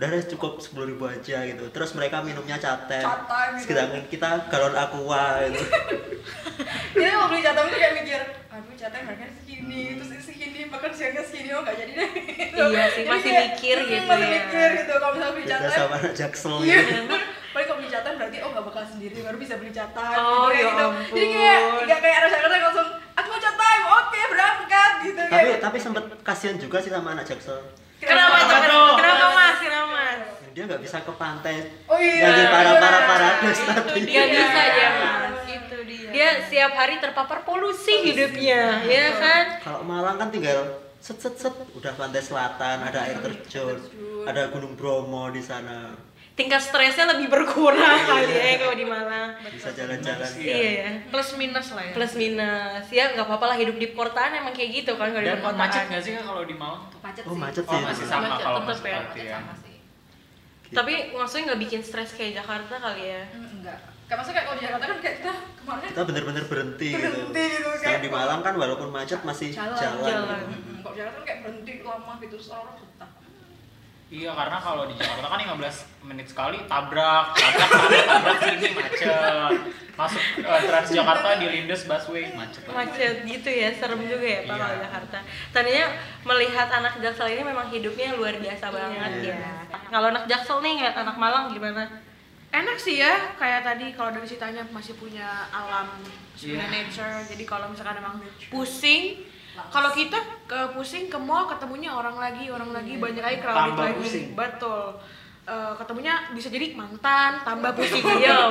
Speaker 4: udah deh cukup 10.000 aja gitu terus mereka minumnya catem
Speaker 3: Catem gitu.
Speaker 4: sedangkan kita galon aqua gitu
Speaker 3: Jadi kalau beli jatah tuh kayak mikir, aduh jatah harganya segini, terus ini segini, bahkan siangnya segini, oh nggak jadi deh. Gitu.
Speaker 1: Iya sih,
Speaker 3: Jadi
Speaker 1: masih
Speaker 3: kayak,
Speaker 1: mikir
Speaker 3: mm,
Speaker 1: gitu
Speaker 3: Masih
Speaker 1: ya.
Speaker 3: mikir gitu kalau misalnya beli
Speaker 4: beda
Speaker 3: jatah.
Speaker 4: sama anak jaksel
Speaker 3: Iya.
Speaker 4: gitu.
Speaker 3: Paling kalau beli jatah berarti oh nggak bakal sendiri, baru bisa beli jatah.
Speaker 1: Oh,
Speaker 3: gitu,
Speaker 1: ya
Speaker 3: gitu. Jadi kayak
Speaker 1: ampun.
Speaker 3: nggak kayak ada Jakarta yang langsung, aku mau jatah, oke berangkat gitu.
Speaker 4: tapi
Speaker 3: kayak.
Speaker 4: tapi sempet kasihan juga sih sama anak jaksel
Speaker 1: Kenapa
Speaker 2: Kenapa
Speaker 1: tuh?
Speaker 2: tuh?
Speaker 1: Kenapa Mas? Kenapa Mas?
Speaker 4: dia nggak bisa ke pantai
Speaker 3: Oh iya.
Speaker 4: nyanyi para para
Speaker 1: Iya. Itu
Speaker 4: para tadi
Speaker 1: dia
Speaker 3: Iya.
Speaker 1: bisa dia Mas. Itu dia. Dia setiap hari terpapar polusi hidupnya, ya kan?
Speaker 4: kalau Malang kan tinggal set set set udah pantai selatan ada air terjun ada gunung Bromo di sana
Speaker 1: tingkat stresnya lebih berkurang kali ya kalau di Malang.
Speaker 4: bisa jalan-jalan
Speaker 2: Iya.
Speaker 1: Iya ya.
Speaker 5: plus minus lah ya
Speaker 1: Plus minus. Ya nggak apa-apa lah hidup di perkotaan emang kayak gitu kan kalau di
Speaker 2: Dan
Speaker 1: perkotaan.
Speaker 2: macet nggak sih Kak, kalau di Malang?
Speaker 3: Macet
Speaker 4: oh
Speaker 3: sih.
Speaker 4: macet
Speaker 2: Oh
Speaker 4: sih
Speaker 2: masih sama
Speaker 5: Macet
Speaker 2: kalau
Speaker 5: tetep
Speaker 2: masih
Speaker 5: ya,
Speaker 2: seperti
Speaker 3: Macet
Speaker 2: ya.
Speaker 3: sama sih.
Speaker 1: Tapi maksudnya nggak bikin stres kayak Jakarta kali ya.
Speaker 3: Hmm, enggak kayak maksudnya kayak kalau di Jakarta kan kayak kita kemarin
Speaker 4: kita bener-bener berhenti,
Speaker 3: Berhenti gitu,
Speaker 4: gitu.
Speaker 3: kayak-
Speaker 4: Sedang di Malang kan walaupun macet masih
Speaker 3: Jalan,
Speaker 4: jalan,
Speaker 1: jalan.
Speaker 4: gitu.
Speaker 3: Mm-mm, kalau di Jakarta kan kayak berhenti lama gitu terus orang betah
Speaker 2: Iya karena kalau di Jakarta kan 15 menit sekali tabrak, tabrak sana, tabrak sini macet. Masuk eh, Transjakarta di Lindes busway macet.
Speaker 1: Macet gitu ya, serem juga ya Pak
Speaker 2: Iya.
Speaker 1: kalau Jakarta. Tadinya melihat anak Jaksel ini memang hidupnya luar
Speaker 2: Iya.
Speaker 1: biasa banget ya. Kalau anak Jaksel nih ngeliat anak Malang gimana?
Speaker 5: enak sih ya kayak tadi kalau dari ceritanya masih punya alam masih punya
Speaker 2: Iya.
Speaker 5: nature jadi kalau misalkan emang pusing kalau kita ke pusing ke mall ketemunya orang lagi orang lagi banyak lagi crowded
Speaker 2: Tambah
Speaker 5: lagi
Speaker 2: pusing.
Speaker 5: betul Eh, ketemunya bisa jadi mantan tambah pusing
Speaker 1: Iya.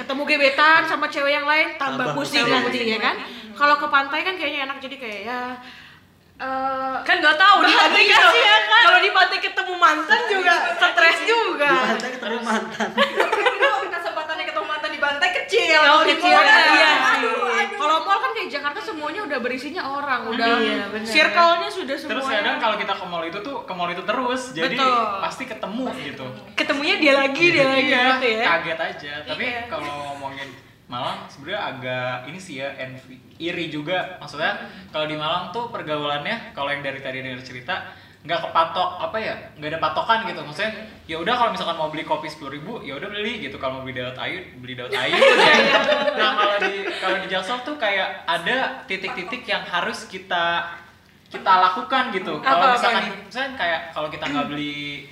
Speaker 5: ketemu gebetan sama cewek yang lain tambah,
Speaker 4: Tambah
Speaker 5: pusing
Speaker 4: pusing.
Speaker 5: lagi ya kan kalau ke pantai kan kayaknya enak jadi kayak ya eh,
Speaker 1: Kan nggak tahu di pantai
Speaker 5: Bahagia
Speaker 1: kalau-
Speaker 5: sih ya, kan? Iya.
Speaker 1: Kalau di pantai ketemu mantan juga stres juga.
Speaker 4: Di pantai ketemu mantan.
Speaker 3: tapi kalau kesempatannya ketemu mantan di Bantai kecil
Speaker 1: Oh,
Speaker 3: di
Speaker 1: kecil,
Speaker 3: Flores.
Speaker 1: iya sih.
Speaker 3: aduh aduh
Speaker 5: Kalau mall kan kayak Jakarta semuanya udah berisinya orang, udah
Speaker 1: Iya, bener.
Speaker 5: circle-nya sudah semuanya.
Speaker 2: Terus kadang kalau kita ke mall itu tuh ke mall itu terus, jadi
Speaker 5: Betul.
Speaker 2: pasti ketemu gitu.
Speaker 1: Ketemunya dia lagi, dia lagi
Speaker 2: Iya,
Speaker 1: gitu ya. Iya.
Speaker 2: kaget aja. Tapi kalau ngomongin Malang sebenarnya agak ini sih ya envy, iri juga. Maksudnya kalau di Malang tuh pergaulannya kalau yang dari tadi dengar cerita nggak kepatok apa ya nggak ada patokan gitu maksudnya ya udah kalau misalkan mau beli kopi sepuluh ribu ya udah beli gitu kalau mau beli daun ayu beli daun ayu
Speaker 1: Iya,
Speaker 2: nah kalau di kalau di Jaksel tuh kayak ada titik-titik yang harus kita kita lakukan gitu kalau
Speaker 1: Apa-apa
Speaker 2: misalkan
Speaker 1: nih?
Speaker 2: misalnya kayak kalau kita nggak beli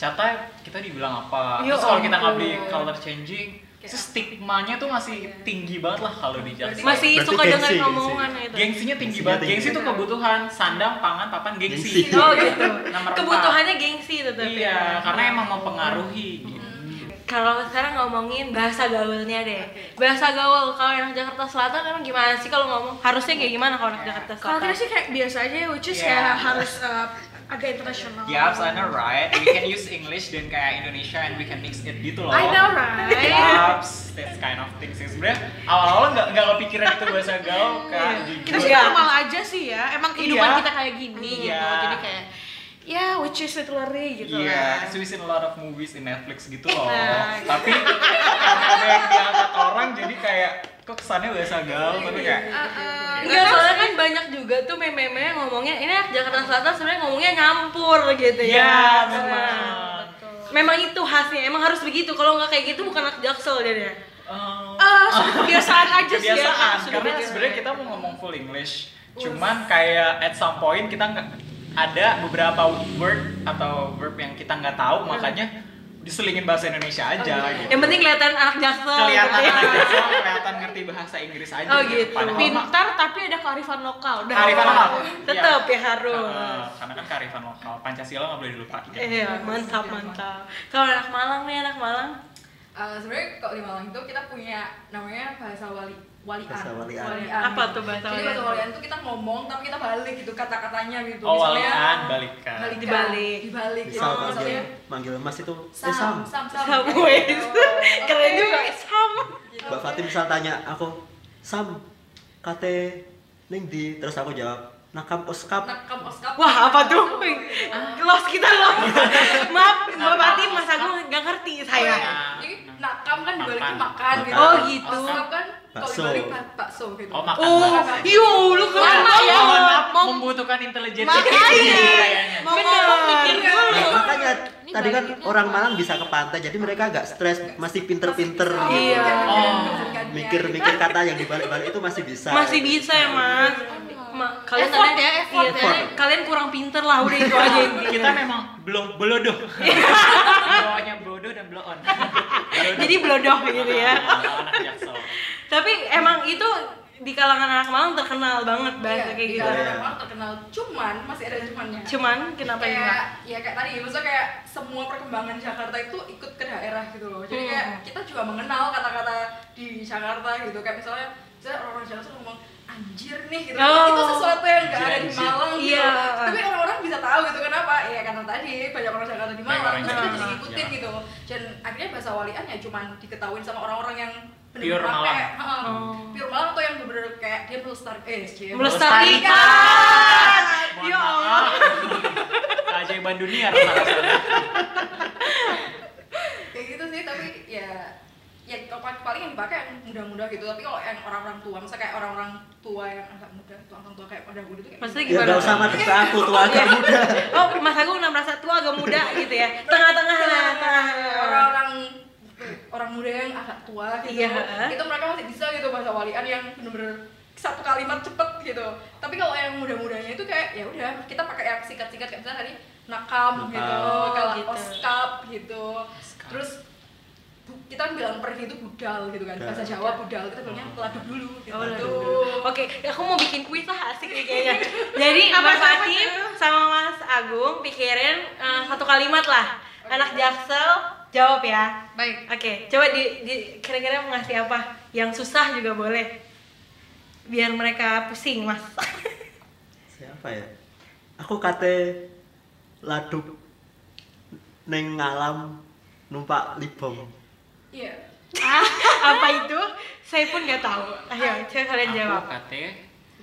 Speaker 2: catai kita dibilang apa
Speaker 1: Ya
Speaker 2: terus kalau kita
Speaker 1: ampun.
Speaker 2: nggak beli color changing terus stigmanya tuh masih tinggi banget lah kalau di Jaksel
Speaker 1: Masih
Speaker 4: Berarti
Speaker 1: suka
Speaker 4: gengsi,
Speaker 1: dengerin
Speaker 4: gengsi.
Speaker 1: omongan itu.
Speaker 2: gengsinya tinggi
Speaker 4: Gengsinya
Speaker 2: banget
Speaker 4: tinggi.
Speaker 2: gengsi tuh kebutuhan sandang pangan papan gengsi,
Speaker 4: Gengsi.
Speaker 1: Oh gitu.
Speaker 2: Nomor empat.
Speaker 1: Kebutuhannya gengsi tetap.
Speaker 2: iya
Speaker 1: ya.
Speaker 2: karena emang mempengaruhi gitu
Speaker 1: Kalau sekarang ngomongin bahasa gaulnya deh. Bahasa gaul kalau anak Jakarta Selatan emang gimana sih kalau ngomong? Harusnya kayak gimana kalau anak Jakarta
Speaker 5: Kalau
Speaker 1: Selatan?
Speaker 5: kita sih kayak biasa aja, which is
Speaker 2: Iya.
Speaker 5: kayak harus uh, agak internasional.
Speaker 2: ya sana right we can use English dan kayak Indonesia and we can mix it gitu loh
Speaker 5: I know right.
Speaker 2: Yaps, that's kind of things sih sebenarnya awal-awal nggak nggak kepikiran itu bahasa gaul kan
Speaker 5: kita
Speaker 2: jujur.
Speaker 5: sih normal aja sih ya, emang kehidupan
Speaker 2: Iya.
Speaker 5: kita kayak gini gitu,
Speaker 2: Iya.
Speaker 5: jadi kayak ya which is literary gitu
Speaker 2: Iya,
Speaker 5: lah.
Speaker 2: so we seen a lot of movies in Netflix gitu loh.
Speaker 5: Nah, gitu.
Speaker 2: tapi karena ada yang diangkat orang jadi kayak kok kesannya bahasa gaul tapi kayak
Speaker 5: Uh,
Speaker 1: Enggak, soalnya kan banyak juga tuh meme-meme yang ngomongnya ini anak Jakarta Selatan sebenarnya ngomongnya nyampur gitu ya.
Speaker 2: ya
Speaker 1: Nah,
Speaker 2: memang.
Speaker 1: Memang itu khasnya, emang harus begitu. Kalau nggak kayak gitu bukan anak Jaksel deh.
Speaker 2: Eh,
Speaker 5: Eh, sudah kebiasaan aja sih ya.
Speaker 2: kebiasaan
Speaker 5: sudah
Speaker 2: karena
Speaker 5: biasa.
Speaker 2: sebenarnya kita mau ngomong full English cuman kayak at some point kita nggak ada beberapa word atau verb yang kita nggak tahu makanya diselingin bahasa Indonesia aja gitu.
Speaker 1: Yang penting kelihatan anak Jaksel.
Speaker 2: kelihatan
Speaker 1: gitu ya.
Speaker 2: kelihatan ngerti bahasa Inggris aja
Speaker 1: Oh, gitu.
Speaker 2: Padahal mah
Speaker 5: pintar tapi ada kearifan lokal. Udah.
Speaker 2: kearifan lokal.
Speaker 1: Tetap
Speaker 2: Iya.
Speaker 1: ya harus.
Speaker 2: Heeh, karena kan kearifan lokal Pancasila nggak boleh dilupakan
Speaker 1: Iya, mantap mantap. Kalau anak Malang nih anak Malang,
Speaker 3: Eh, sebenarnya kalau di Malang itu kita punya namanya bahasa wali walian.
Speaker 4: Bahasa walian.
Speaker 1: Apa tuh bahasa
Speaker 3: Jadi bahasa
Speaker 1: walian?
Speaker 3: walian itu kita ngomong tapi kita balik gitu kata-katanya gitu.
Speaker 2: oh
Speaker 3: Misalnya,
Speaker 2: walian balikan
Speaker 3: balikan,
Speaker 1: Dibalik.
Speaker 3: Dibalik. gitu.
Speaker 4: Misal manggil,
Speaker 3: Misalnya,
Speaker 4: manggil mas itu,
Speaker 3: Sam,
Speaker 4: eh Sam.
Speaker 3: sam, sam.
Speaker 1: sama
Speaker 3: Gitu.
Speaker 1: Keren
Speaker 3: Oke.
Speaker 1: juga Sam.
Speaker 3: Gitu.
Speaker 4: Mbak Fatim misal tanya aku, Sam, kate ning di, terus aku jawab, nakam oskap.
Speaker 3: Nah, kamu oskap.
Speaker 1: Wah, apa tuh?
Speaker 3: Gitu.
Speaker 1: Los kita los. Maaf, Mbak Fatim, Mas Agung nggak ngerti saya.
Speaker 3: Jadi nakam kan dibalikin
Speaker 2: Iya. Makan.
Speaker 3: makan gitu.
Speaker 4: Oh,
Speaker 1: gitu.
Speaker 3: Oskap kan kalau
Speaker 4: Bakso.
Speaker 3: dibalik bak- bakso gitu.
Speaker 2: oh makan
Speaker 1: Oh,
Speaker 2: bahasa Inggris.
Speaker 1: yo, lu keren
Speaker 2: Mohon
Speaker 1: ya.
Speaker 2: maaf,
Speaker 1: Mau
Speaker 2: membutuhkan intelijen Iya,
Speaker 1: Makanya.
Speaker 2: kayaknya
Speaker 1: mau ngomong
Speaker 3: Iya.
Speaker 1: pikir dulu.
Speaker 4: Nah, makanya
Speaker 5: Ini
Speaker 4: tadi kan
Speaker 5: baliknya
Speaker 4: orang Malang bisa ke pantai, jadi mereka agak stres, masih pinter-pinter. gitu.
Speaker 3: Masih bisa
Speaker 1: Iya.
Speaker 2: Oh.
Speaker 3: menjadikan-
Speaker 4: Mikir-mikir kata yang dibalik-balik itu masih bisa.
Speaker 1: Masih bisa ya, Mas. Ma- kalian
Speaker 5: Effort
Speaker 1: kalian-
Speaker 5: ya, effort
Speaker 1: iya,
Speaker 5: ya.
Speaker 1: kalian- Kalian kurang pinter lah udah itu aja intinya.
Speaker 2: kita memang belum belodoh bawahnya bodoh dan blow on
Speaker 1: Jadi belodoh gitu ya.
Speaker 2: anak jaksel
Speaker 1: Tapi emang itu di kalangan anak Malang terkenal banget bahasa
Speaker 3: Iya,
Speaker 1: kayak
Speaker 3: di
Speaker 1: gitu.
Speaker 3: daerah
Speaker 4: Iya.
Speaker 3: Malang terkenal cuman masih ada cumannya.
Speaker 1: Cuman kenapa ya?
Speaker 3: kayak ya kayak tadi maksudnya kayak semua perkembangan Jakarta itu ikut ke daerah gitu loh
Speaker 1: Hmm.
Speaker 3: jadi kayak kita juga mengenal kata-kata di Jakarta gitu kayak misalnya misalnya orang-orang Jakarta tuh ngomong anjir nih gitu
Speaker 1: Oh.
Speaker 3: itu sesuatu yang nggak ada di
Speaker 2: Anjir,
Speaker 3: Malang gitu
Speaker 1: Iya.
Speaker 3: tapi orang-orang bisa tahu gitu kenapa ya karena tadi banyak orang Jakarta di
Speaker 2: Banyak
Speaker 3: Malang terus
Speaker 2: orang
Speaker 3: kita jadi
Speaker 2: Jakarta.
Speaker 3: ngikutin gitu dan akhirnya bahasa walian ya cuman diketahui sama orang-orang yang
Speaker 2: Pure
Speaker 3: bener-bener
Speaker 2: Malang.
Speaker 3: pakai, heeh,
Speaker 1: Oh.
Speaker 3: pure Malang atau yang bener-bener kayak dia melestari eh
Speaker 5: Iya,
Speaker 3: dia
Speaker 1: Iya. Melestarikan. Ya
Speaker 2: Mohon maaf. keajaiban dunia rasa-rasanya
Speaker 3: gitu ya kalau paling paling yang dipakai yang muda-muda gitu tapi kalau yang orang-orang tua misalnya kayak orang-orang tua yang agak muda tua orang tua kayak pada gue itu kayak
Speaker 1: Maksudnya
Speaker 4: Ya
Speaker 1: gimana?
Speaker 4: nggak usah madep ke aku tua agak muda.
Speaker 1: Oh, Mas Agung enam merasa tua agak muda gitu ya. Tengah-tengah
Speaker 5: Iya.
Speaker 1: lah, tengah.
Speaker 3: Nah, orang-orang orang muda yang agak tua gitu
Speaker 1: Iya.
Speaker 3: itu mereka masih bisa gitu bahasa walian yang bener-bener satu kalimat cepet gitu tapi kalau yang muda-mudanya itu kayak ya udah kita pakai yang singkat-singkat kayak misalnya tadi nakam gitu
Speaker 4: Nakam.
Speaker 3: kalau
Speaker 1: Gitu.
Speaker 3: oskap gitu terus bu- kita kan bilang pergi itu budal gitu kan bahasa Jawa budal kita bilangnya peladuk dulu gitu
Speaker 1: Oh, aduh. Oke, aku mau bikin kuis lah asik nih kayaknya. Jadi Mas Fatim sama Mas Agung pikirin eh, satu kalimat lah. Anak Jaksel jawab ya.
Speaker 5: Baik.
Speaker 1: Oke, coba di, di- kira-kira mau ngasih apa? Yang susah juga boleh. Biar mereka pusing, Mas.
Speaker 4: Siapa ya? Aku kate laduk neng ngalam numpak libong.
Speaker 3: iya
Speaker 1: Ah, apa itu? Saya pun nggak tahu. Ayo, coba kalian jawab.
Speaker 2: Aku kate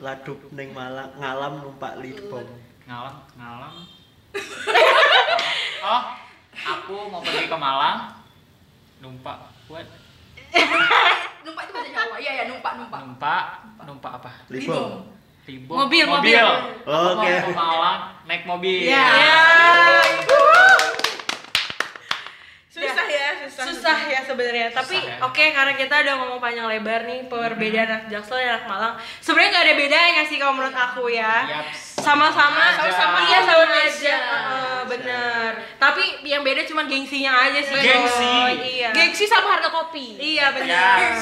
Speaker 4: Laduk neng malam ngalam numpak libong.
Speaker 2: ngalam ngalam. oh, aku mau pergi ke Malang. Numpak buat
Speaker 3: Eh, numpak itu bahasa Jawa iya ya numpak numpak
Speaker 2: numpak numpak apa?
Speaker 4: Libong.
Speaker 2: Libong.
Speaker 5: Mobil, mobil.
Speaker 2: mobil.
Speaker 4: Oke.
Speaker 2: Mau ke Malang naik mobil.
Speaker 5: Iya.
Speaker 1: Ya.
Speaker 6: Susah ya, susah.
Speaker 1: susah ya sebenarnya tapi
Speaker 2: Susah ya. Mm-hmm.
Speaker 1: oke karena kita udah ngomong panjang lebar nih perbedaan anak Jaksel dan anak Malang sebenarnya nggak ada bedanya sih kalau menurut aku ya
Speaker 2: Yaps.
Speaker 1: sama-sama
Speaker 2: Sama-sama.
Speaker 1: iya sama aja,
Speaker 6: aja.
Speaker 1: Heeh, bener tapi yang beda cuma gengsinya aja sih
Speaker 2: Gengsi.
Speaker 1: Boy. iya
Speaker 5: Gengsi sama harga kopi.
Speaker 1: iya
Speaker 2: Ya.
Speaker 1: bener
Speaker 2: Yes.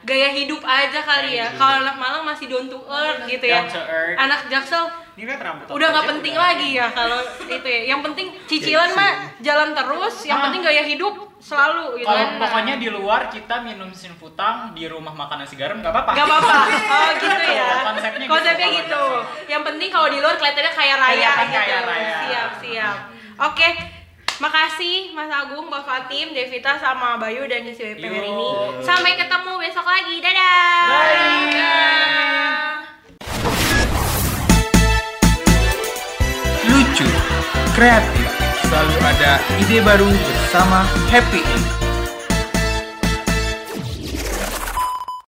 Speaker 1: gaya hidup aja kali ya
Speaker 2: Gaya hidup.
Speaker 1: kalau anak Malang masih down to earth gitu ya
Speaker 2: Down to earth.
Speaker 1: anak Jaksel
Speaker 2: Ini lihat
Speaker 1: udah
Speaker 2: rambut. aku
Speaker 1: nggak
Speaker 2: aja
Speaker 1: penting
Speaker 2: udah. Iya
Speaker 1: lagi ya kalau itu ya yang penting cicilan mah jalan terus yang
Speaker 2: Ah.
Speaker 1: penting gaya hidup selalu gitu
Speaker 2: Kalau
Speaker 1: kan.
Speaker 2: pokoknya di luar kita minum sin futang, di rumah makan nasi garam nggak apa-apa.
Speaker 1: Gak apa-apa. Oh gitu ya.
Speaker 2: Konsepnya gitu.
Speaker 1: Konsepnya gitu. Yang penting kalau di luar kelihatannya kayak raya
Speaker 2: Kelihatan
Speaker 1: gitu.
Speaker 2: kaya raya.
Speaker 1: Siap, siap. Oke. Makasih Mas Agung, Mbak Fatim, Devita sama Bayu dan Yesi WP hari ini.
Speaker 2: Yo.
Speaker 1: Sampai ketemu besok lagi. Dadah.
Speaker 2: Bye.
Speaker 1: Dadah.
Speaker 7: lucu, kreatif, selalu ada ide baru bersama Happy Ink.